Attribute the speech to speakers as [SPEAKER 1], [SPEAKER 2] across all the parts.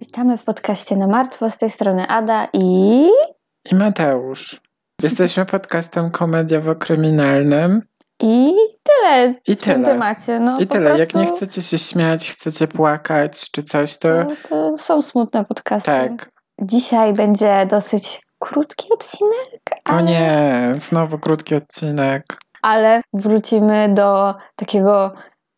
[SPEAKER 1] Witamy w podcaście na martwo, z tej strony Ada i...
[SPEAKER 2] I Mateusz. Jesteśmy podcastem komediowo-kryminalnym.
[SPEAKER 1] I tyle
[SPEAKER 2] I
[SPEAKER 1] w tym
[SPEAKER 2] tyle.
[SPEAKER 1] temacie. No,
[SPEAKER 2] I
[SPEAKER 1] po
[SPEAKER 2] tyle. Jak nie
[SPEAKER 1] prostu
[SPEAKER 2] chcecie się śmiać, chcecie płakać czy coś, to
[SPEAKER 1] To, to są smutne podcasty.
[SPEAKER 2] tak.
[SPEAKER 1] Dzisiaj będzie dosyć krótki odcinek,
[SPEAKER 2] O
[SPEAKER 1] ale,
[SPEAKER 2] nie, znowu krótki odcinek.
[SPEAKER 1] ale wrócimy do takiego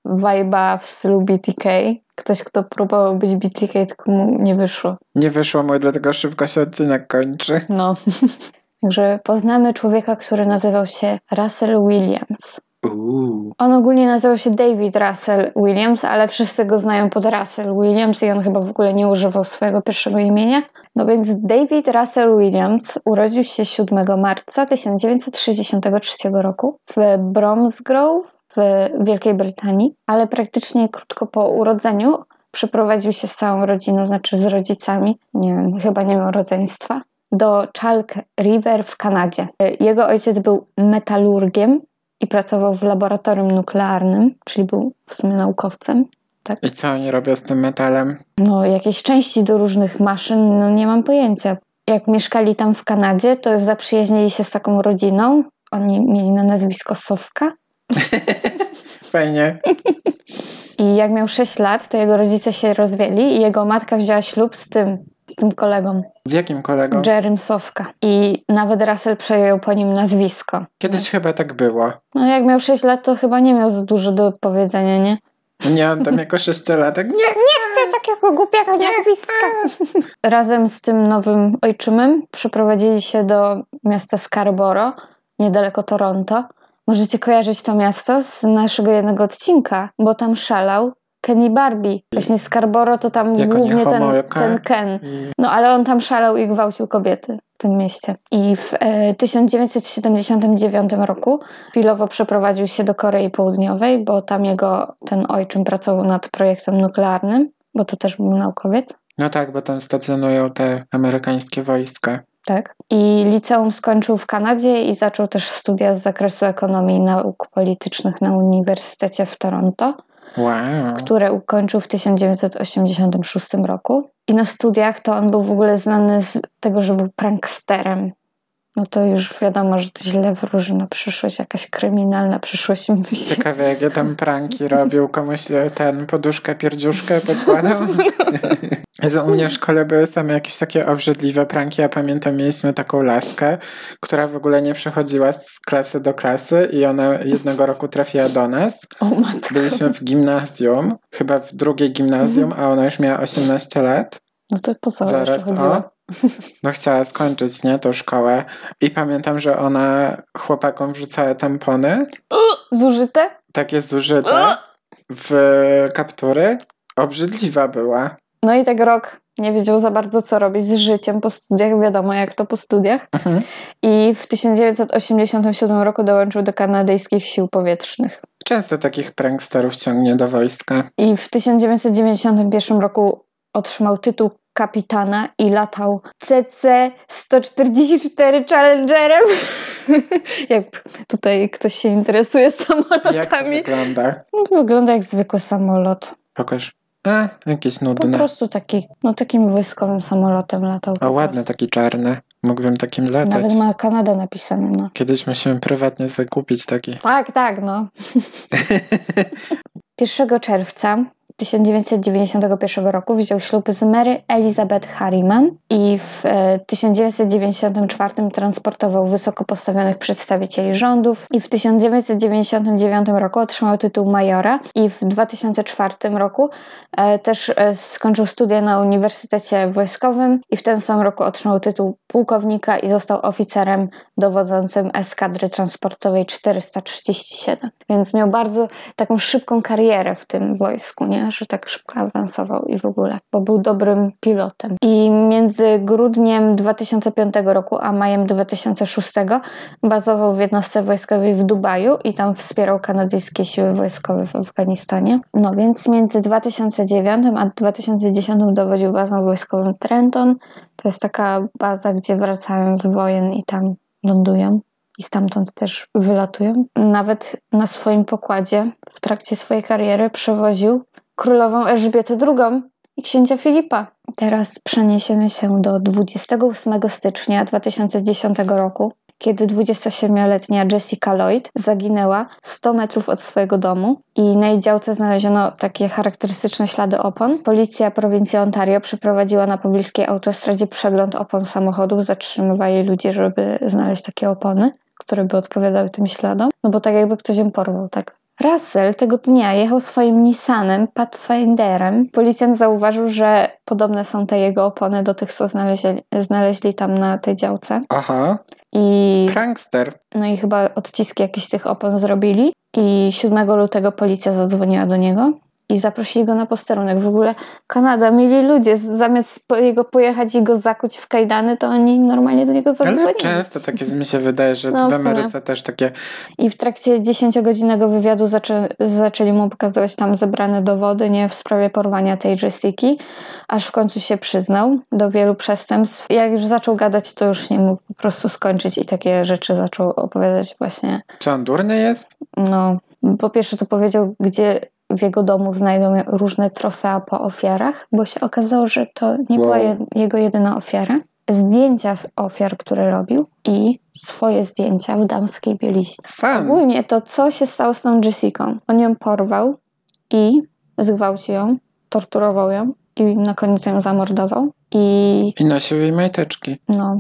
[SPEAKER 1] vibe'a w stylu BTK. Ktoś, kto próbował być BTK, tylko mu nie wyszło.
[SPEAKER 2] Nie wyszło mu, i dlatego szybko się odcinek kończy.
[SPEAKER 1] No. Także poznamy człowieka, który nazywał się Russell Williams.
[SPEAKER 2] Uuu.
[SPEAKER 1] On ogólnie nazywał się David Russell Williams, ale wszyscy go znają pod Russell Williams i on chyba w ogóle nie używał swojego pierwszego imienia. No więc David Russell Williams urodził się 7 marca 1963 roku w Bromsgrove w Wielkiej Brytanii, ale praktycznie krótko po urodzeniu przeprowadził się z całą rodziną, znaczy z rodzicami, nie wiem, chyba nie miał rodzeństwa, do Chalk River w Kanadzie. Jego ojciec był metalurgiem i pracował w laboratorium nuklearnym, czyli był w sumie naukowcem.
[SPEAKER 2] I co oni robią z tym metalem?
[SPEAKER 1] No, jakieś części do różnych maszyn, no nie mam pojęcia. Jak mieszkali tam w Kanadzie, to zaprzyjaźnili się z taką rodziną. Oni mieli na nazwisko Sowka.
[SPEAKER 2] Fajnie.
[SPEAKER 1] I jak miał 6 lat, to jego rodzice się rozwiedli i jego matka wzięła ślub z tym, z tym kolegą,
[SPEAKER 2] Z jakim kolegą?
[SPEAKER 1] Jerem Sowka. I nawet Russell przejął po nim nazwisko.
[SPEAKER 2] Kiedyś chyba tak było.
[SPEAKER 1] No, jak miał 6 lat, to chyba nie miał za dużo do powiedzenia, nie?
[SPEAKER 2] Nie, on tam jako sześciolatek. Nie,
[SPEAKER 1] chcę takiego głupiego nazwiska. Razem z tym nowym ojczymem przeprowadzili się do miasta Scarborough, niedaleko Toronto. Możecie kojarzyć to miasto z naszego jednego odcinka, bo tam szalał Kenny Barbie. Właśnie Scarborough to tam
[SPEAKER 2] Jako
[SPEAKER 1] głównie ten,
[SPEAKER 2] niehomolka.
[SPEAKER 1] ten Ken.
[SPEAKER 2] I
[SPEAKER 1] No ale on tam szalał i gwałcił kobiety w tym mieście. I w e, 1979 roku chwilowo przeprowadził się do Korei Południowej, bo tam jego ten ojczym pracował nad projektem nuklearnym, bo to też był naukowiec.
[SPEAKER 2] No tak, bo tam stacjonują te amerykańskie wojska.
[SPEAKER 1] Tak. I liceum skończył w Kanadzie i zaczął też studia z zakresu ekonomii i nauk politycznych na Uniwersytecie w Toronto.
[SPEAKER 2] Wow.
[SPEAKER 1] które ukończył w 1986 roku. I na studiach to on był w ogóle znany z tego, że był pranksterem. No to już wiadomo, że to źle wróży na przyszłość, jakaś kryminalna przyszłość mi się.
[SPEAKER 2] Ciekawe, jakie tam pranki robił. Komuś e, ten poduszkę, pierdziuszkę podkładał. Jezu, u mnie w szkole były same jakieś takie obrzydliwe pranki. Ja pamiętam, mieliśmy taką laskę, która w ogóle nie przechodziła z klasy do klasy i ona jednego roku trafiła do nas.
[SPEAKER 1] O matko.
[SPEAKER 2] Byliśmy w gimnazjum, chyba w drugiej gimnazjum, a ona już miała 18 lat.
[SPEAKER 1] No to po co
[SPEAKER 2] Zaraz,
[SPEAKER 1] jeszcze chodziło?
[SPEAKER 2] o. No chciała skończyć, nie, tą szkołę. I pamiętam, że ona chłopakom wrzucała tampony,
[SPEAKER 1] Zużyte?
[SPEAKER 2] takie zużyte, w kaptury. Obrzydliwa była.
[SPEAKER 1] No i tak rok nie wiedział za bardzo, co robić z życiem po studiach, wiadomo jak to po studiach.
[SPEAKER 2] Mhm.
[SPEAKER 1] I w 1987 roku dołączył do kanadyjskich sił powietrznych.
[SPEAKER 2] Często takich pranksterów ciągnie do wojska.
[SPEAKER 1] I w 1991 roku otrzymał tytuł kapitana i latał CC-144 Challengerem. jak tutaj ktoś się interesuje No
[SPEAKER 2] Jak to
[SPEAKER 1] samolotami.
[SPEAKER 2] wygląda?
[SPEAKER 1] No, wygląda jak zwykły samolot.
[SPEAKER 2] Pokaż. A, jakiś
[SPEAKER 1] Po
[SPEAKER 2] nudny.
[SPEAKER 1] prostu taki, no takim wojskowym samolotem latał. po
[SPEAKER 2] A ładny
[SPEAKER 1] prostu.
[SPEAKER 2] taki czarny. Mógłbym takim latać.
[SPEAKER 1] Nawet ma Kanada napisane, no.
[SPEAKER 2] Kiedyś musimy prywatnie zakupić taki.
[SPEAKER 1] Tak, tak, no. 1 czerwca 1991 roku wziął ślub z Mary Elizabeth Harriman i w e, 1994 transportował wysoko postawionych przedstawicieli rządów i w 1999 roku otrzymał tytuł majora i w 2004 roku e, też e, skończył studia na Uniwersytecie Wojskowym i w tym samym roku otrzymał tytuł pułkownika i został oficerem dowodzącym eskadry transportowej 437. Więc miał bardzo taką szybką karierę w tym wojsku, nie? że tak szybko awansował i w ogóle, bo był dobrym pilotem. I między grudniem 2005 roku a majem 2006 bazował w jednostce wojskowej w Dubaju i tam wspierał kanadyjskie siły wojskowe w Afganistanie. No więc między 2009 a 2010 dowodził bazą wojskową Trenton. To jest taka baza, gdzie wracają z wojen i tam lądują. i stamtąd też wylatują. Nawet na swoim pokładzie w trakcie swojej kariery przewoził królową Elżbietę II i księcia Filipa. Teraz przeniesiemy się do 28 stycznia 2010 roku, kiedy 27-letnia Jessica Lloyd zaginęła 100 metrów od swojego domu i na jej działce znaleziono takie charakterystyczne ślady opon. Policja prowincji Ontario przeprowadziła na pobliskiej autostradzie przegląd opon samochodów, zatrzymywali ludzi, żeby znaleźć takie opony, które by odpowiadały tym śladom, no bo tak jakby ktoś ją porwał, tak Russell tego dnia jechał swoim Nissanem Pathfinderem. Policjant zauważył, że podobne są te jego opony do tych, co znaleźli, znaleźli tam na tej działce.
[SPEAKER 2] Aha,
[SPEAKER 1] I,
[SPEAKER 2] prankster.
[SPEAKER 1] no i chyba odciski jakichś tych opon zrobili. I 7 lutego policja zadzwoniła do niego i zaprosili go na posterunek. W ogóle Kanada, mieli ludzie, z- zamiast po jego pojechać i go zakuć w kajdany, to oni normalnie do niego
[SPEAKER 2] Ale
[SPEAKER 1] zadzwonili.
[SPEAKER 2] często takie mi się wydaje, że
[SPEAKER 1] No,
[SPEAKER 2] w
[SPEAKER 1] w sumie.
[SPEAKER 2] Ameryce też takie
[SPEAKER 1] I w trakcie 10-godzinnego wywiadu zaczę- zaczęli mu pokazywać tam zebrane dowody, nie w sprawie porwania tej Jessica, aż w końcu się przyznał do wielu przestępstw. Jak już zaczął gadać, to już nie mógł po prostu skończyć i takie rzeczy zaczął opowiadać właśnie.
[SPEAKER 2] Czy on durny jest?
[SPEAKER 1] No, po pierwsze to powiedział, gdzie w jego domu znajdą różne trofea po ofiarach, bo się okazało, że to nie
[SPEAKER 2] Wow.
[SPEAKER 1] była je- jego jedyna ofiara. Zdjęcia z ofiar, które robił i swoje zdjęcia w damskiej bieliźnie.
[SPEAKER 2] Fan.
[SPEAKER 1] Ogólnie to, co się stało z tą Jessiką? On ją porwał i zgwałcił ją, torturował ją i na koniec ją zamordował. I
[SPEAKER 2] I nosił jej majteczki.
[SPEAKER 1] no,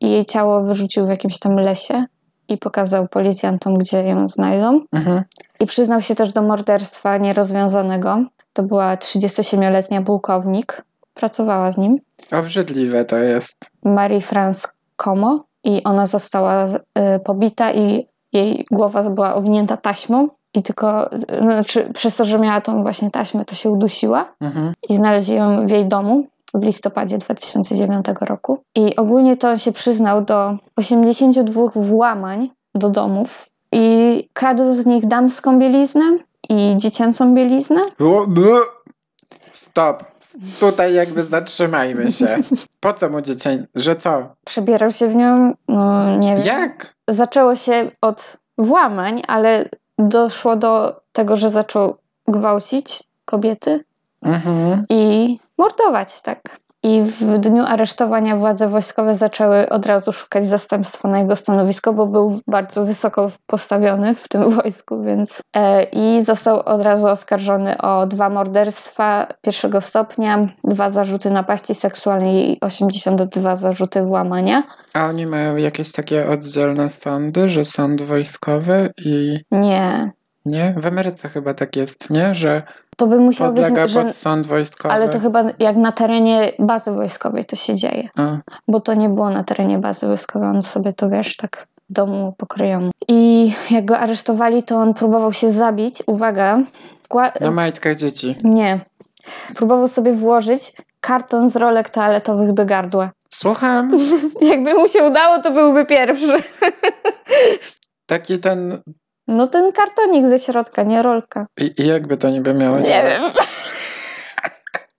[SPEAKER 1] i jej ciało wyrzucił w jakimś tam lesie i pokazał policjantom, gdzie ją znajdą.
[SPEAKER 2] Mhm.
[SPEAKER 1] I przyznał się też do morderstwa nierozwiązanego. To była 37-letnia pułkownik, pracowała z nim.
[SPEAKER 2] Obrzydliwe to jest.
[SPEAKER 1] Marie France Como i ona została z- y, pobita i jej głowa była owinięta taśmą i tylko y, no, znaczy, przez to, że miała tą właśnie taśmę, to się udusiła
[SPEAKER 2] Mhm.
[SPEAKER 1] i znaleźli ją w jej domu w listopadzie 2009 roku. I ogólnie to on się przyznał do 82 włamań do domów i kradł z nich damską bieliznę i dziecięcą bieliznę.
[SPEAKER 2] O, blu. Stop. S- Tutaj jakby zatrzymajmy się. Po co mu dziecię? Że co?
[SPEAKER 1] Przebierał się w nią, no nie wiem.
[SPEAKER 2] Jak?
[SPEAKER 1] zaczęło się od włamań, ale doszło do tego, że zaczął gwałcić kobiety
[SPEAKER 2] Mhm.
[SPEAKER 1] i mordować, tak. I w dniu aresztowania władze wojskowe zaczęły od razu szukać zastępstwa na jego stanowisko, bo był bardzo wysoko postawiony w tym wojsku, więc. E, I został od razu oskarżony o dwa morderstwa pierwszego stopnia, dwa zarzuty napaści seksualnej i 82 zarzuty włamania.
[SPEAKER 2] A oni mają jakieś takie oddzielne sądy, że sąd wojskowy i...
[SPEAKER 1] Nie.
[SPEAKER 2] Nie? W Ameryce chyba tak jest, nie? Że
[SPEAKER 1] To by musiał być,
[SPEAKER 2] podlega
[SPEAKER 1] że
[SPEAKER 2] pod sąd wojskowy.
[SPEAKER 1] Ale to chyba jak na terenie bazy wojskowej to się dzieje,
[SPEAKER 2] A,
[SPEAKER 1] bo to nie było na terenie bazy wojskowej, on sobie to wiesz, tak w domu pokryją. I jak go aresztowali, to on próbował się zabić, uwaga, wkła-
[SPEAKER 2] Na majtkach dzieci.
[SPEAKER 1] nie, próbował sobie włożyć karton z rolek toaletowych do gardła.
[SPEAKER 2] Słucham.
[SPEAKER 1] Jakby mu się udało, to byłby pierwszy.
[SPEAKER 2] Taki ten...
[SPEAKER 1] No ten kartonik ze środka, nie rolka.
[SPEAKER 2] I i jakby to niby miało
[SPEAKER 1] Nie
[SPEAKER 2] działać?
[SPEAKER 1] wiem.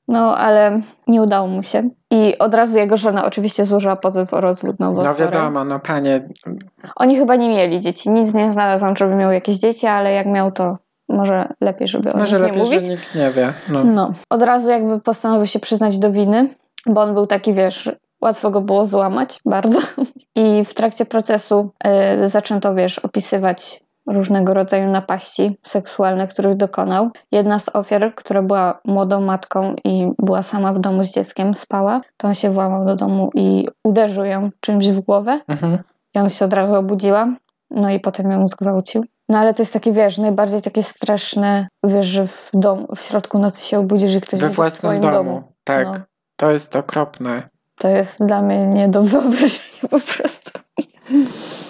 [SPEAKER 1] No, ale nie udało mu się. I od razu jego żona oczywiście złożyła pozew o rozwód
[SPEAKER 2] No
[SPEAKER 1] nowotworem.
[SPEAKER 2] wiadomo, no panie,
[SPEAKER 1] Oni chyba nie mieli dzieci. Nic nie znalazłam, żeby miał jakieś dzieci, ale jak miał, to może lepiej, żeby o
[SPEAKER 2] może
[SPEAKER 1] nich nie
[SPEAKER 2] lepiej,
[SPEAKER 1] mówić.
[SPEAKER 2] że nikt nie wie. No.
[SPEAKER 1] No. Od razu jakby postanowił się przyznać do winy, bo on był taki, wiesz, łatwo go było złamać, bardzo. I w trakcie procesu y, zaczęto, wiesz, opisywać różnego rodzaju napaści seksualne, których dokonał. Jedna z ofiar, która była młodą matką i była sama w domu z dzieckiem, spała, to on się włamał do domu i uderzył ją czymś w głowę.
[SPEAKER 2] Mhm.
[SPEAKER 1] I on się od razu obudziła, no i potem ją zgwałcił. No ale to jest taki, wiesz, najbardziej takie straszne, wiesz, że w, domu, w środku nocy się obudzisz i ktoś
[SPEAKER 2] We
[SPEAKER 1] będzie w
[SPEAKER 2] własnym
[SPEAKER 1] twoim
[SPEAKER 2] domu.
[SPEAKER 1] domu.
[SPEAKER 2] Tak.
[SPEAKER 1] No,
[SPEAKER 2] To jest okropne.
[SPEAKER 1] to jest dla mnie nie do wyobrażenia po prostu.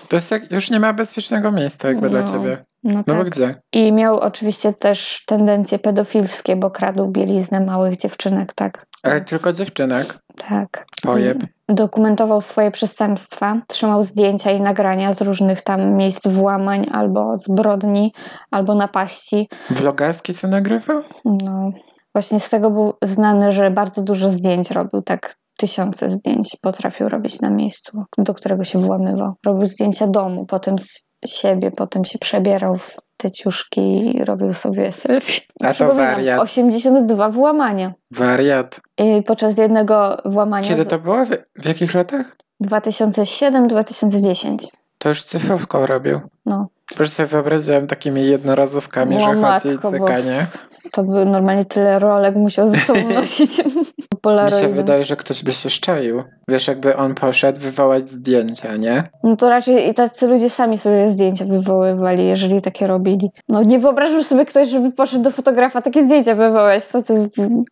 [SPEAKER 2] To jest jak, już nie ma bezpiecznego miejsca jakby dla
[SPEAKER 1] No,
[SPEAKER 2] ciebie.
[SPEAKER 1] No
[SPEAKER 2] No bo
[SPEAKER 1] tak.
[SPEAKER 2] gdzie?
[SPEAKER 1] I miał oczywiście też tendencje pedofilskie, bo kradł bieliznę małych dziewczynek, tak.
[SPEAKER 2] Ale
[SPEAKER 1] Więc-
[SPEAKER 2] E, tylko dziewczynek.
[SPEAKER 1] Tak.
[SPEAKER 2] Pojeb.
[SPEAKER 1] Dokumentował swoje przestępstwa, trzymał zdjęcia i nagrania z różnych tam miejsc włamań albo zbrodni, albo napaści.
[SPEAKER 2] Vlogaski co nagrywał?
[SPEAKER 1] No, właśnie z tego był znany, że bardzo dużo zdjęć robił, tak tysiące zdjęć potrafił robić na miejscu, do którego się włamywał. Robił zdjęcia domu, potem z siebie, potem się przebierał w te ciuszki i robił sobie selfie.
[SPEAKER 2] A to
[SPEAKER 1] Przypominam,
[SPEAKER 2] wariat.
[SPEAKER 1] 82 włamania.
[SPEAKER 2] Wariat.
[SPEAKER 1] I podczas jednego włamania
[SPEAKER 2] Kiedy
[SPEAKER 1] z-
[SPEAKER 2] to było? W, w jakich latach?
[SPEAKER 1] 2007-2010.
[SPEAKER 2] To już cyfrowką robił.
[SPEAKER 1] No.
[SPEAKER 2] Po prostu sobie wyobraziłem takimi jednorazówkami,
[SPEAKER 1] O,
[SPEAKER 2] że chodzi i
[SPEAKER 1] No, matko
[SPEAKER 2] cykanie.
[SPEAKER 1] boska. To by normalnie tyle rolek musiał ze sobą nosić.
[SPEAKER 2] Mi się
[SPEAKER 1] Polaroidy.
[SPEAKER 2] wydaje, że ktoś by się szczaił. Wiesz, jakby on poszedł wywołać zdjęcia, nie?
[SPEAKER 1] No to raczej i tacy ludzie sami sobie zdjęcia wywoływali, jeżeli takie robili. No nie wyobrażasz sobie ktoś, żeby poszedł do fotografa takie zdjęcia wywołać. Co ty z-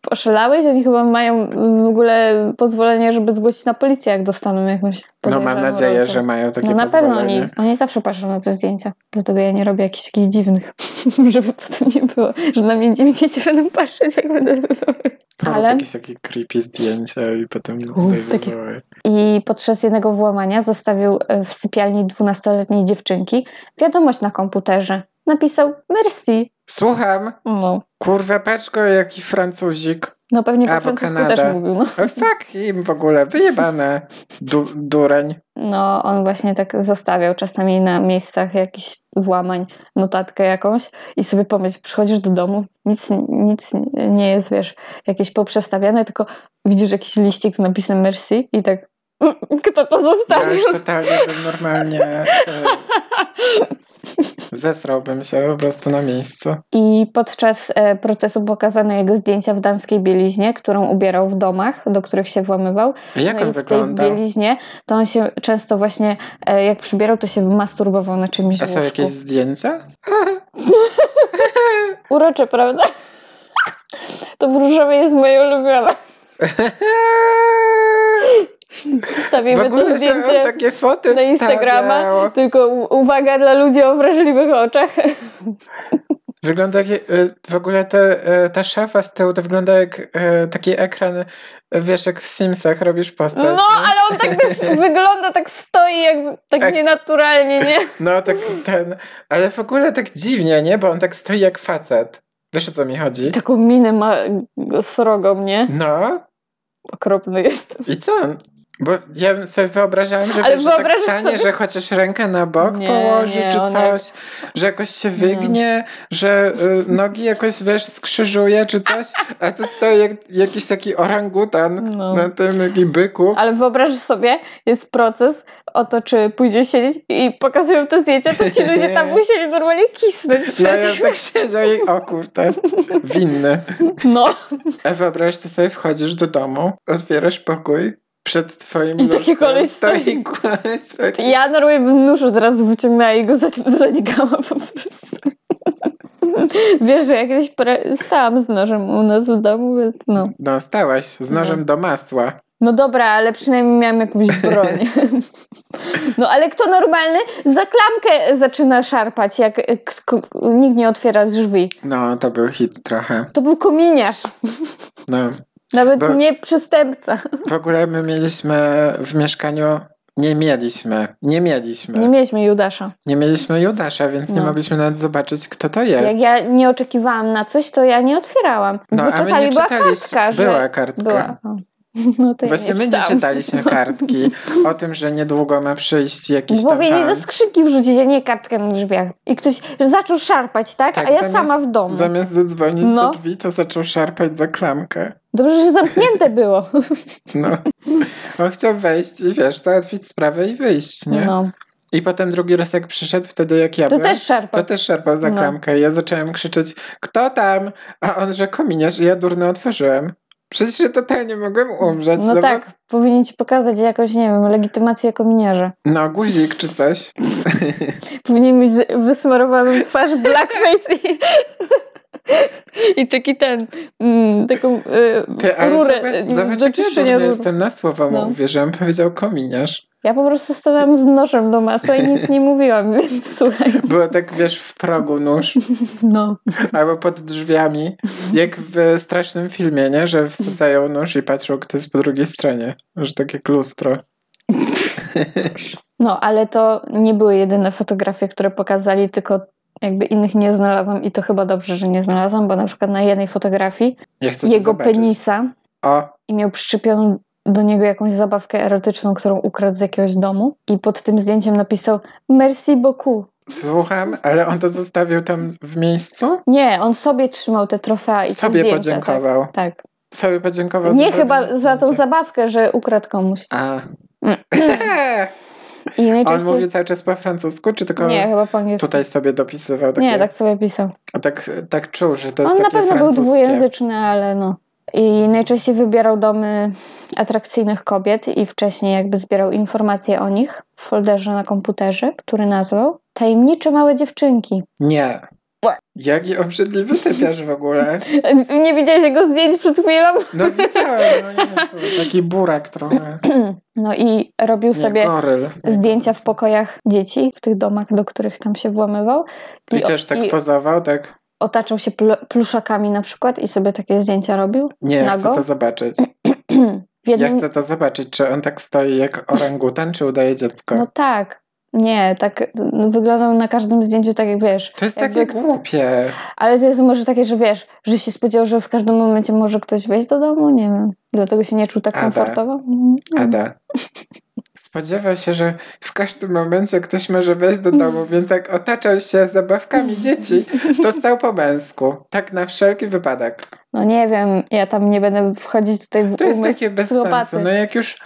[SPEAKER 1] poszalałeś? Oni chyba mają w ogóle pozwolenie, żeby zgłosić na policję, jak dostaną jakąś
[SPEAKER 2] No mam
[SPEAKER 1] podejrzaną
[SPEAKER 2] nadzieję,
[SPEAKER 1] rolkę.
[SPEAKER 2] że mają takie
[SPEAKER 1] No na pewno
[SPEAKER 2] pozwolenie.
[SPEAKER 1] oni, oni zawsze patrzą na te zdjęcia. Dlatego ja nie robię jakichś takich dziwnych, żeby potem nie było, że na mnie dziwnie się będą patrzeć, jak będę wywoływać.
[SPEAKER 2] Porób
[SPEAKER 1] Ale-
[SPEAKER 2] jakieś takie creepy zdjęcia i potem tutaj
[SPEAKER 1] takie-
[SPEAKER 2] wywołaj.
[SPEAKER 1] I podczas jednego włamania zostawił e, w sypialni 12-letniej dziewczynki wiadomość na komputerze. Napisał merci.
[SPEAKER 2] Słucham!
[SPEAKER 1] No,
[SPEAKER 2] Kurwa paczko, jaki Francuzik.
[SPEAKER 1] no pewnie po
[SPEAKER 2] A, bo
[SPEAKER 1] francusku
[SPEAKER 2] Kanada.
[SPEAKER 1] też mówił. No.
[SPEAKER 2] Fuck im w ogóle, wyjebane. Du dureń.
[SPEAKER 1] no, on właśnie tak zostawiał czasami na miejscach jakichś włamań notatkę jakąś i sobie pomyśl, przychodzisz do domu, nic, nic nie jest, wiesz, jakieś poprzestawiane, tylko widzisz jakiś liścik z napisem merci i tak kto to
[SPEAKER 2] Ja
[SPEAKER 1] zostawił?
[SPEAKER 2] już totalnie bym normalnie... e, Zesrałbym się po prostu na miejscu.
[SPEAKER 1] I podczas e, procesu pokazano jego zdjęcia w damskiej bieliźnie, którą ubierał w domach, do których się włamywał.
[SPEAKER 2] Jak
[SPEAKER 1] no
[SPEAKER 2] on
[SPEAKER 1] i w tej
[SPEAKER 2] wyglądał?
[SPEAKER 1] bieliźnie to on się często właśnie, e, jak przybierał, to się masturbował na czymś
[SPEAKER 2] A
[SPEAKER 1] w
[SPEAKER 2] są
[SPEAKER 1] łóżku.
[SPEAKER 2] jakieś zdjęcia?
[SPEAKER 1] Urocze, prawda? to wróżowe jest moje ulubione.
[SPEAKER 2] W
[SPEAKER 1] Wstawimy to
[SPEAKER 2] ogóle, że on
[SPEAKER 1] zdjęcie
[SPEAKER 2] takie foty
[SPEAKER 1] na Instagrama.
[SPEAKER 2] wstawiał.
[SPEAKER 1] Tylko u- uwaga dla ludzi o wrażliwych oczach.
[SPEAKER 2] Wygląda jak, e, w ogóle te, e, ta szafa z tyłu to wygląda jak e, taki ekran, e, wiesz, jak w Simsach robisz postać.
[SPEAKER 1] No,
[SPEAKER 2] nie?
[SPEAKER 1] ale on tak też wygląda, tak stoi, jakby tak
[SPEAKER 2] Tak.
[SPEAKER 1] nienaturalnie, nie?
[SPEAKER 2] No, tak ten, ale w ogóle tak dziwnie, nie? Bo on tak stoi jak facet. Wiesz o co mi chodzi?
[SPEAKER 1] Taką minę ma srogą, nie?
[SPEAKER 2] No,
[SPEAKER 1] okropny jest.
[SPEAKER 2] i co? Bo ja bym sobie wyobrażałem, że,
[SPEAKER 1] Ale
[SPEAKER 2] wiesz, że tak
[SPEAKER 1] wyobrażasz
[SPEAKER 2] stanie,
[SPEAKER 1] sobie-
[SPEAKER 2] że chociaż rękę na bok
[SPEAKER 1] Nie,
[SPEAKER 2] położy,
[SPEAKER 1] nie,
[SPEAKER 2] czy
[SPEAKER 1] on
[SPEAKER 2] coś,
[SPEAKER 1] jak-
[SPEAKER 2] że jakoś się wygnie, że y, nogi jakoś, wiesz, skrzyżuje, czy coś, a tu stoi jak, jakiś taki orangutan
[SPEAKER 1] No.
[SPEAKER 2] na tym taki byku.
[SPEAKER 1] Ale wyobraź sobie, jest proces o to, czy pójdzie siedzieć i pokazują te zdjęcia, to ci ludzie tam musieli normalnie kisnąć
[SPEAKER 2] No
[SPEAKER 1] przecież.
[SPEAKER 2] ja tak siedział i o kurde, winny.
[SPEAKER 1] No,
[SPEAKER 2] A wyobraźcie sobie, wchodzisz do domu, otwierasz pokój, przed twoim
[SPEAKER 1] I taki
[SPEAKER 2] lustrem
[SPEAKER 1] koleś
[SPEAKER 2] stoi koleś taki-
[SPEAKER 1] ja normalnie bym nóż od razu wyciągnęła i go za- zadźgała po prostu. Wiesz, że ja kiedyś pre- stałam z nożem u nas w domu, więc no.
[SPEAKER 2] No, stałaś z
[SPEAKER 1] Mhm.
[SPEAKER 2] nożem do masła.
[SPEAKER 1] No dobra, ale przynajmniej miałam jakąś broń. No ale kto normalny za klamkę zaczyna szarpać, jak e, k- k- nikt nie otwiera drzwi.
[SPEAKER 2] No, to był hit trochę.
[SPEAKER 1] To był kominiarz.
[SPEAKER 2] No.
[SPEAKER 1] Nawet
[SPEAKER 2] Bo-
[SPEAKER 1] nie przestępca.
[SPEAKER 2] W ogóle my mieliśmy w mieszkaniu. Nie mieliśmy, nie mieliśmy.
[SPEAKER 1] Nie
[SPEAKER 2] Nie,
[SPEAKER 1] mieliśmy Judasza.
[SPEAKER 2] mieliśmy Judasza, więc nie
[SPEAKER 1] No.
[SPEAKER 2] mogliśmy nawet zobaczyć, kto to jest.
[SPEAKER 1] Jak ja nie oczekiwałam na coś, to ja nie otwierałam.
[SPEAKER 2] Tak. No,
[SPEAKER 1] bo
[SPEAKER 2] a my
[SPEAKER 1] czasami
[SPEAKER 2] nie
[SPEAKER 1] była
[SPEAKER 2] czytaliśmy.
[SPEAKER 1] kartka, że...
[SPEAKER 2] Była kartka.
[SPEAKER 1] Była. O. No to
[SPEAKER 2] Właśnie
[SPEAKER 1] ja nie
[SPEAKER 2] my nie
[SPEAKER 1] czytałam.
[SPEAKER 2] czytaliśmy kartki o tym, że niedługo ma przyjść jakiś
[SPEAKER 1] Bo
[SPEAKER 2] tam tak.
[SPEAKER 1] mieli do
[SPEAKER 2] pan.
[SPEAKER 1] skrzynki wrzucić, a nie kartkę na drzwiach. I ktoś zaczął szarpać, tak?
[SPEAKER 2] Tak,
[SPEAKER 1] a ja
[SPEAKER 2] zamiast-
[SPEAKER 1] sama w domu.
[SPEAKER 2] Zamiast zadzwonić
[SPEAKER 1] No.
[SPEAKER 2] do drzwi, to zaczął szarpać za klamkę.
[SPEAKER 1] Dobrze, że zamknięte było.
[SPEAKER 2] No. On chciał wejść i wiesz, załatwić sprawę i wyjść, nie?
[SPEAKER 1] No.
[SPEAKER 2] I potem drugi raz jak przyszedł, wtedy jak ja
[SPEAKER 1] To
[SPEAKER 2] byłem,
[SPEAKER 1] też szarpał.
[SPEAKER 2] to też szarpał za
[SPEAKER 1] No.
[SPEAKER 2] klamkę. I ja zacząłem krzyczeć, kto tam? A on, że kominiarz. I ja durno otworzyłem. Przecież ja totalnie mogłem umrzeć.
[SPEAKER 1] No
[SPEAKER 2] bo-
[SPEAKER 1] tak, powinien ci pokazać jakąś, nie wiem, legitymację jako miniarza.
[SPEAKER 2] No, guzik czy coś.
[SPEAKER 1] Powinien mieć z- wysmarowaną twarz blackface i, i taki ten, mm, taką y,
[SPEAKER 2] Ty, ale
[SPEAKER 1] rurę
[SPEAKER 2] zobacz,
[SPEAKER 1] y,
[SPEAKER 2] zobacz
[SPEAKER 1] do
[SPEAKER 2] jak ja
[SPEAKER 1] czyszczenia
[SPEAKER 2] durny
[SPEAKER 1] rur.
[SPEAKER 2] jestem na słowo
[SPEAKER 1] No.
[SPEAKER 2] mu uwierzyłem. Powiedział kominiarz.
[SPEAKER 1] Ja po prostu stanęłam z nożem do masła i nic nie mówiłam, więc słuchaj.
[SPEAKER 2] Było tak, wiesz, w progu nóż.
[SPEAKER 1] No.
[SPEAKER 2] Albo pod drzwiami. Jak w strasznym filmie, nie? Że wsadzają nóż i patrzą, kto jest po drugiej stronie. Że tak jak lustro.
[SPEAKER 1] no, ale to nie były jedyne fotografie, które pokazali, tylko jakby innych nie znalazłam i to chyba dobrze, że nie znalazłam, bo na przykład na jednej fotografii
[SPEAKER 2] Ja chcę to
[SPEAKER 1] jego
[SPEAKER 2] zobaczyć.
[SPEAKER 1] penisa
[SPEAKER 2] O,
[SPEAKER 1] i miał przyczepioną do niego jakąś zabawkę erotyczną, którą ukradł z jakiegoś domu i pod tym zdjęciem napisał Merci beaucoup.
[SPEAKER 2] Słucham, ale on to zostawił tam w miejscu?
[SPEAKER 1] Nie, on sobie trzymał te trofea i te
[SPEAKER 2] Sobie
[SPEAKER 1] zdjęcia,
[SPEAKER 2] podziękował.
[SPEAKER 1] Tak, tak.
[SPEAKER 2] Sobie podziękował
[SPEAKER 1] Nie
[SPEAKER 2] za
[SPEAKER 1] chyba
[SPEAKER 2] zrobione
[SPEAKER 1] za Mm. tą
[SPEAKER 2] zdjęcie.
[SPEAKER 1] zabawkę, że ukradł komuś.
[SPEAKER 2] A.
[SPEAKER 1] I
[SPEAKER 2] on
[SPEAKER 1] najczęściej...
[SPEAKER 2] mówi cały czas po francusku, czy tylko
[SPEAKER 1] nie, chyba po angielsku.
[SPEAKER 2] tutaj sobie dopisywał takie...
[SPEAKER 1] Nie, tak sobie pisał.
[SPEAKER 2] Tak, tak czuł, że to jest
[SPEAKER 1] On na
[SPEAKER 2] takie
[SPEAKER 1] pewno był
[SPEAKER 2] francuskie.
[SPEAKER 1] dwujęzyczny, ale no. I najczęściej wybierał domy atrakcyjnych kobiet i wcześniej jakby zbierał informacje o nich w folderze na komputerze, który nazwał Tajemnicze małe dziewczynki.
[SPEAKER 2] Nie.
[SPEAKER 1] Błe.
[SPEAKER 2] Jaki obrzydliwy typiarz w ogóle.
[SPEAKER 1] Nie widziałeś jego zdjęć przed chwilą?
[SPEAKER 2] No widziałem, no Jezu, taki burak trochę.
[SPEAKER 1] No i robił
[SPEAKER 2] Nie,
[SPEAKER 1] sobie
[SPEAKER 2] goryl.
[SPEAKER 1] zdjęcia w pokojach dzieci, w tych domach, do których tam się włamywał.
[SPEAKER 2] I,
[SPEAKER 1] o-
[SPEAKER 2] też tak
[SPEAKER 1] i
[SPEAKER 2] pozował, tak?
[SPEAKER 1] otaczał się pl- pluszakami na przykład i sobie takie zdjęcia robił.
[SPEAKER 2] Nie, ja chcę
[SPEAKER 1] Nago?
[SPEAKER 2] to zobaczyć.
[SPEAKER 1] W jednym...
[SPEAKER 2] Ja chcę to zobaczyć, czy on tak stoi jak orangutan, czy udaje dziecko.
[SPEAKER 1] No tak. Nie, tak no, wyglądał na każdym zdjęciu tak jak wiesz.
[SPEAKER 2] to jest
[SPEAKER 1] jak
[SPEAKER 2] takie
[SPEAKER 1] jak-
[SPEAKER 2] głupie.
[SPEAKER 1] Ale to jest może takie, że wiesz, że się spodziewał, że w każdym momencie może ktoś wejść do domu, nie wiem. Dlatego się nie czuł tak
[SPEAKER 2] Ada.
[SPEAKER 1] komfortowo. Mm,
[SPEAKER 2] Ada. Spodziewał się, że w każdym momencie ktoś może wejść do domu, więc jak otaczał się zabawkami dzieci, to stał po męsku. Tak na wszelki wypadek.
[SPEAKER 1] No nie wiem, ja tam nie będę wchodzić tutaj w
[SPEAKER 2] To jest
[SPEAKER 1] umysł
[SPEAKER 2] takie bez
[SPEAKER 1] psychopaty.
[SPEAKER 2] sensu. No jak już,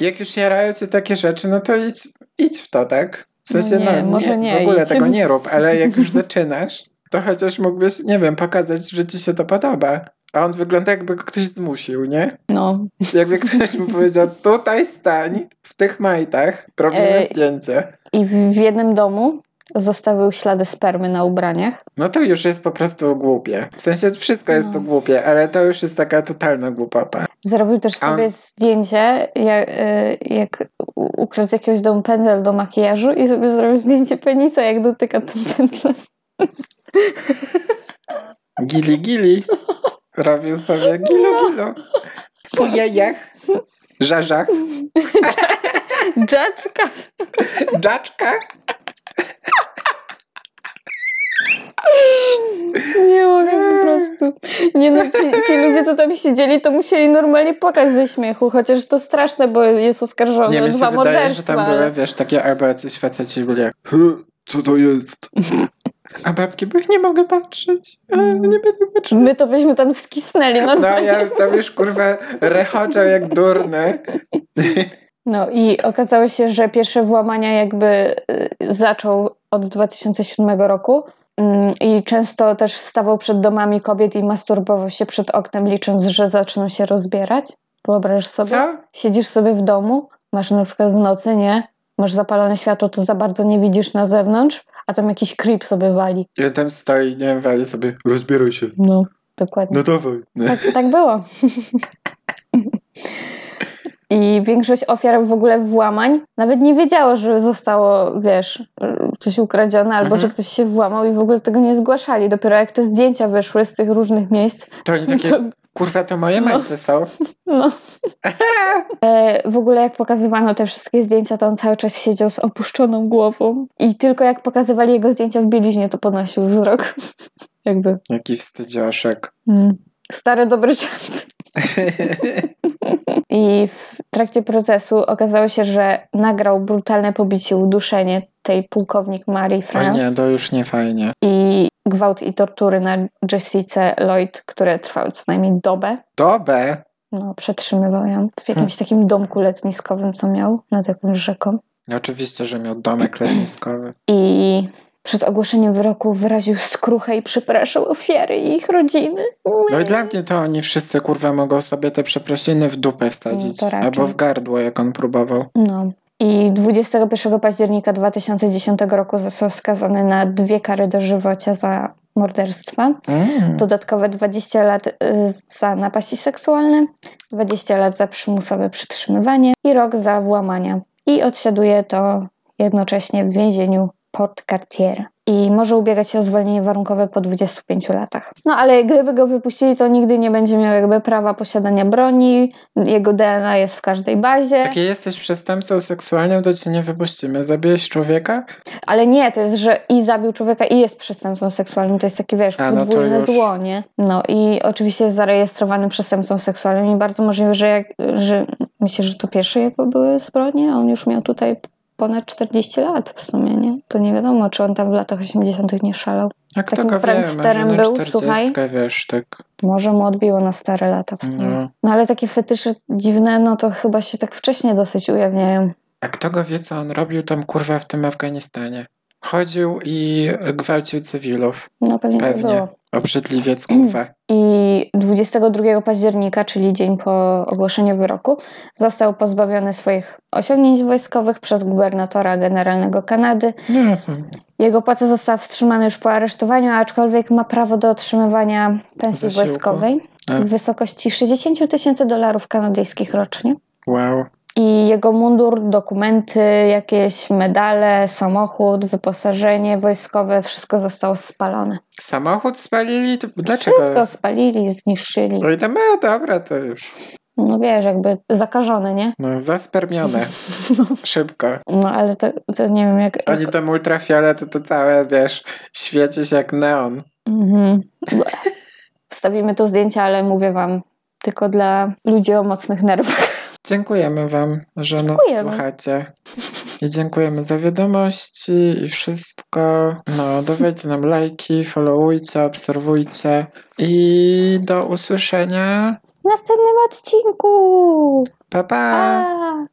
[SPEAKER 2] jak już jarają cię takie rzeczy, no to idź, idź w to, tak? W
[SPEAKER 1] No
[SPEAKER 2] sensie, no
[SPEAKER 1] nie,
[SPEAKER 2] nie,
[SPEAKER 1] może
[SPEAKER 2] w
[SPEAKER 1] nie
[SPEAKER 2] ogóle
[SPEAKER 1] idź.
[SPEAKER 2] tego nie rób, ale jak już zaczynasz, to chociaż mógłbyś, nie wiem, pokazać, że ci się to podoba. A on wygląda jakby go ktoś zmusił, nie?
[SPEAKER 1] No.
[SPEAKER 2] Jakby ktoś mu powiedział, tutaj stań, w tych majtach, robimy
[SPEAKER 1] Ej.
[SPEAKER 2] zdjęcie.
[SPEAKER 1] I w, w jednym domu zostawił ślady spermy na ubraniach.
[SPEAKER 2] No to już jest po prostu głupie. W sensie wszystko jest
[SPEAKER 1] No.
[SPEAKER 2] tu głupie, ale to już jest taka totalna głupota.
[SPEAKER 1] Zrobił też
[SPEAKER 2] A-
[SPEAKER 1] sobie zdjęcie, jak, y, jak u- ukradł z jakiegoś domu pędzel do makijażu i sobie zrobił zdjęcie penisa, jak dotyka tym pędzlem.
[SPEAKER 2] Gili gili. Robił sobie gilo gilo. Po jajach, żarzach,
[SPEAKER 1] Dżaczka!
[SPEAKER 2] dżaczka.
[SPEAKER 1] Nie mogę po prostu. Nie no, ci, ci ludzie, co tam siedzieli, to musieli normalnie płakać ze śmiechu, chociaż to straszne, bo jest oskarżony
[SPEAKER 2] Nie,
[SPEAKER 1] o
[SPEAKER 2] mi
[SPEAKER 1] dwa
[SPEAKER 2] się wydaje, że
[SPEAKER 1] morderstwa.
[SPEAKER 2] tam były,
[SPEAKER 1] ale...
[SPEAKER 2] wiesz, takie albo jacyś faceci byli jak "Hy, co to jest? A babki były, nie mogę patrzeć. A,
[SPEAKER 1] Mm.
[SPEAKER 2] nie będę patrzył.
[SPEAKER 1] My to byśmy tam skisnęli
[SPEAKER 2] No
[SPEAKER 1] normalnie.
[SPEAKER 2] ja tam już kurwa rechoczał jak durny.
[SPEAKER 1] No i okazało się, że pierwsze włamania jakby y, zaczął od 2007 roku Mm, i często też stawał przed domami kobiet i masturbował się przed oknem, licząc, że zaczną się rozbierać. Wyobraź sobie.
[SPEAKER 2] Co?
[SPEAKER 1] Siedzisz sobie w domu, masz na przykład w nocy, nie? Masz zapalone światło, to za bardzo nie widzisz na zewnątrz, a tam jakiś creep sobie wali.
[SPEAKER 2] I tam stoi, nie wiem, wali sobie, rozbieraj się.
[SPEAKER 1] No. Dokładnie.
[SPEAKER 2] No dawaj.
[SPEAKER 1] Tak, tak było. I większość ofiar w ogóle włamań nawet nie wiedziało, że zostało, wiesz, coś ukradzione albo
[SPEAKER 2] Mhm.
[SPEAKER 1] że ktoś się włamał i w ogóle tego nie zgłaszali. Dopiero jak te zdjęcia wyszły z tych różnych miejsc, no
[SPEAKER 2] To oni takie,
[SPEAKER 1] to
[SPEAKER 2] kurwa, to moje majty są.
[SPEAKER 1] No. E, w ogóle jak pokazywano te wszystkie zdjęcia, to on cały czas siedział z opuszczoną głową. I tylko jak pokazywali jego zdjęcia w bieliźnie, to podnosił wzrok. Jakby.
[SPEAKER 2] Jaki wstydzioszek.
[SPEAKER 1] Mm. Stare dobre czasy. I w trakcie procesu okazało się, że nagrał brutalne pobicie, uduszenie tej pułkownik Marii
[SPEAKER 2] O
[SPEAKER 1] France
[SPEAKER 2] nie, to już nie fajnie.
[SPEAKER 1] i gwałt i tortury na Jessice Lloyd, które trwały co najmniej dobę.
[SPEAKER 2] Dobę?
[SPEAKER 1] No, przetrzymywał ją w jakimś
[SPEAKER 2] Hmm.
[SPEAKER 1] takim domku letniskowym, co miał nad jakąś rzeką.
[SPEAKER 2] No Oczywiście, że miał domek letniskowy.
[SPEAKER 1] I przed ogłoszeniem wyroku wyraził skruchę i przepraszał ofiary i ich rodziny.
[SPEAKER 2] No i dla mnie to oni wszyscy, kurwa, mogą sobie te przeprosiny w dupę wsadzić.
[SPEAKER 1] No to raczej.
[SPEAKER 2] albo w gardło, jak on próbował.
[SPEAKER 1] No. I 21 października 2010 roku został skazany na dwie kary dożywocia za morderstwa.
[SPEAKER 2] Mm.
[SPEAKER 1] Dodatkowe 20 lat y, za napaści seksualne, 20 lat za przymusowe przytrzymywanie i rok za włamania. I odsiaduje to jednocześnie w więzieniu Port Cartier. i może ubiegać się o zwolnienie warunkowe po 25 latach. No ale gdyby go wypuścili, to nigdy nie będzie miał jakby prawa posiadania broni, jego DNA jest w każdej bazie,
[SPEAKER 2] Jak jesteś przestępcą seksualnym, to cię nie wypuścimy. Zabijesz człowieka?
[SPEAKER 1] ale nie, to jest, że i zabił człowieka i jest przestępcą seksualnym, to jest takie, wiesz,
[SPEAKER 2] A, no to
[SPEAKER 1] podwójne
[SPEAKER 2] już.
[SPEAKER 1] zło, nie? No i oczywiście jest zarejestrowany przestępcą seksualnym i bardzo możliwe, że, jak, że myślę, że to pierwsze jego były zbrodnie, a on już miał tutaj ponad 40 lat w sumie, nie? To nie wiadomo, czy on tam w latach 80 nie szalał.
[SPEAKER 2] A kto
[SPEAKER 1] Takim
[SPEAKER 2] go wie, może
[SPEAKER 1] pranksterem
[SPEAKER 2] na
[SPEAKER 1] był,
[SPEAKER 2] 40,
[SPEAKER 1] słuchaj.
[SPEAKER 2] wiesz, tak.
[SPEAKER 1] Może mu odbiło na stare lata w sumie.
[SPEAKER 2] No.
[SPEAKER 1] No ale takie fetysze dziwne, no to chyba się tak wcześnie dosyć ujawniają.
[SPEAKER 2] A kto go wie, co on robił tam, kurwa, w tym Afganistanie? Chodził i gwałcił cywilów.
[SPEAKER 1] No pewnie, tak
[SPEAKER 2] Pewnie.
[SPEAKER 1] było.
[SPEAKER 2] Obrzydliwiec,
[SPEAKER 1] Mm.
[SPEAKER 2] kurwa.
[SPEAKER 1] I 22 października, czyli dzień po ogłoszeniu wyroku, został pozbawiony swoich osiągnięć wojskowych przez gubernatora generalnego Kanady.
[SPEAKER 2] No to
[SPEAKER 1] Jego płaca została wstrzymana już po aresztowaniu, aczkolwiek ma prawo do otrzymywania pensji
[SPEAKER 2] Zasiłku.
[SPEAKER 1] wojskowej
[SPEAKER 2] Tak.
[SPEAKER 1] w wysokości 60 000 tysięcy dolarów kanadyjskich rocznie.
[SPEAKER 2] wow.
[SPEAKER 1] I jego mundur, dokumenty, jakieś medale, samochód, wyposażenie wojskowe, wszystko zostało spalone.
[SPEAKER 2] Samochód spalili? To dlaczego?
[SPEAKER 1] Wszystko spalili, zniszczyli.
[SPEAKER 2] No i tam, a dobra, to już.
[SPEAKER 1] No wiesz, jakby zakażone, nie?
[SPEAKER 2] No, zaspermione. Szybko.
[SPEAKER 1] No ale to, to nie wiem jak...
[SPEAKER 2] Oni
[SPEAKER 1] jak...
[SPEAKER 2] tam ultrafiolet, to, to całe, wiesz, świeci się jak neon.
[SPEAKER 1] Mhm. Ble. Wstawimy to zdjęcie, ale mówię wam, tylko dla ludzi o mocnych nerwach.
[SPEAKER 2] Dziękujemy wam, że nas
[SPEAKER 1] Dziękujemy.
[SPEAKER 2] słuchacie. I dziękujemy za wiadomości i wszystko. No, dawajcie nam lajki, followujcie, obserwujcie. I do usłyszenia.
[SPEAKER 1] W następnym odcinku!
[SPEAKER 2] Pa, pa!
[SPEAKER 1] Pa!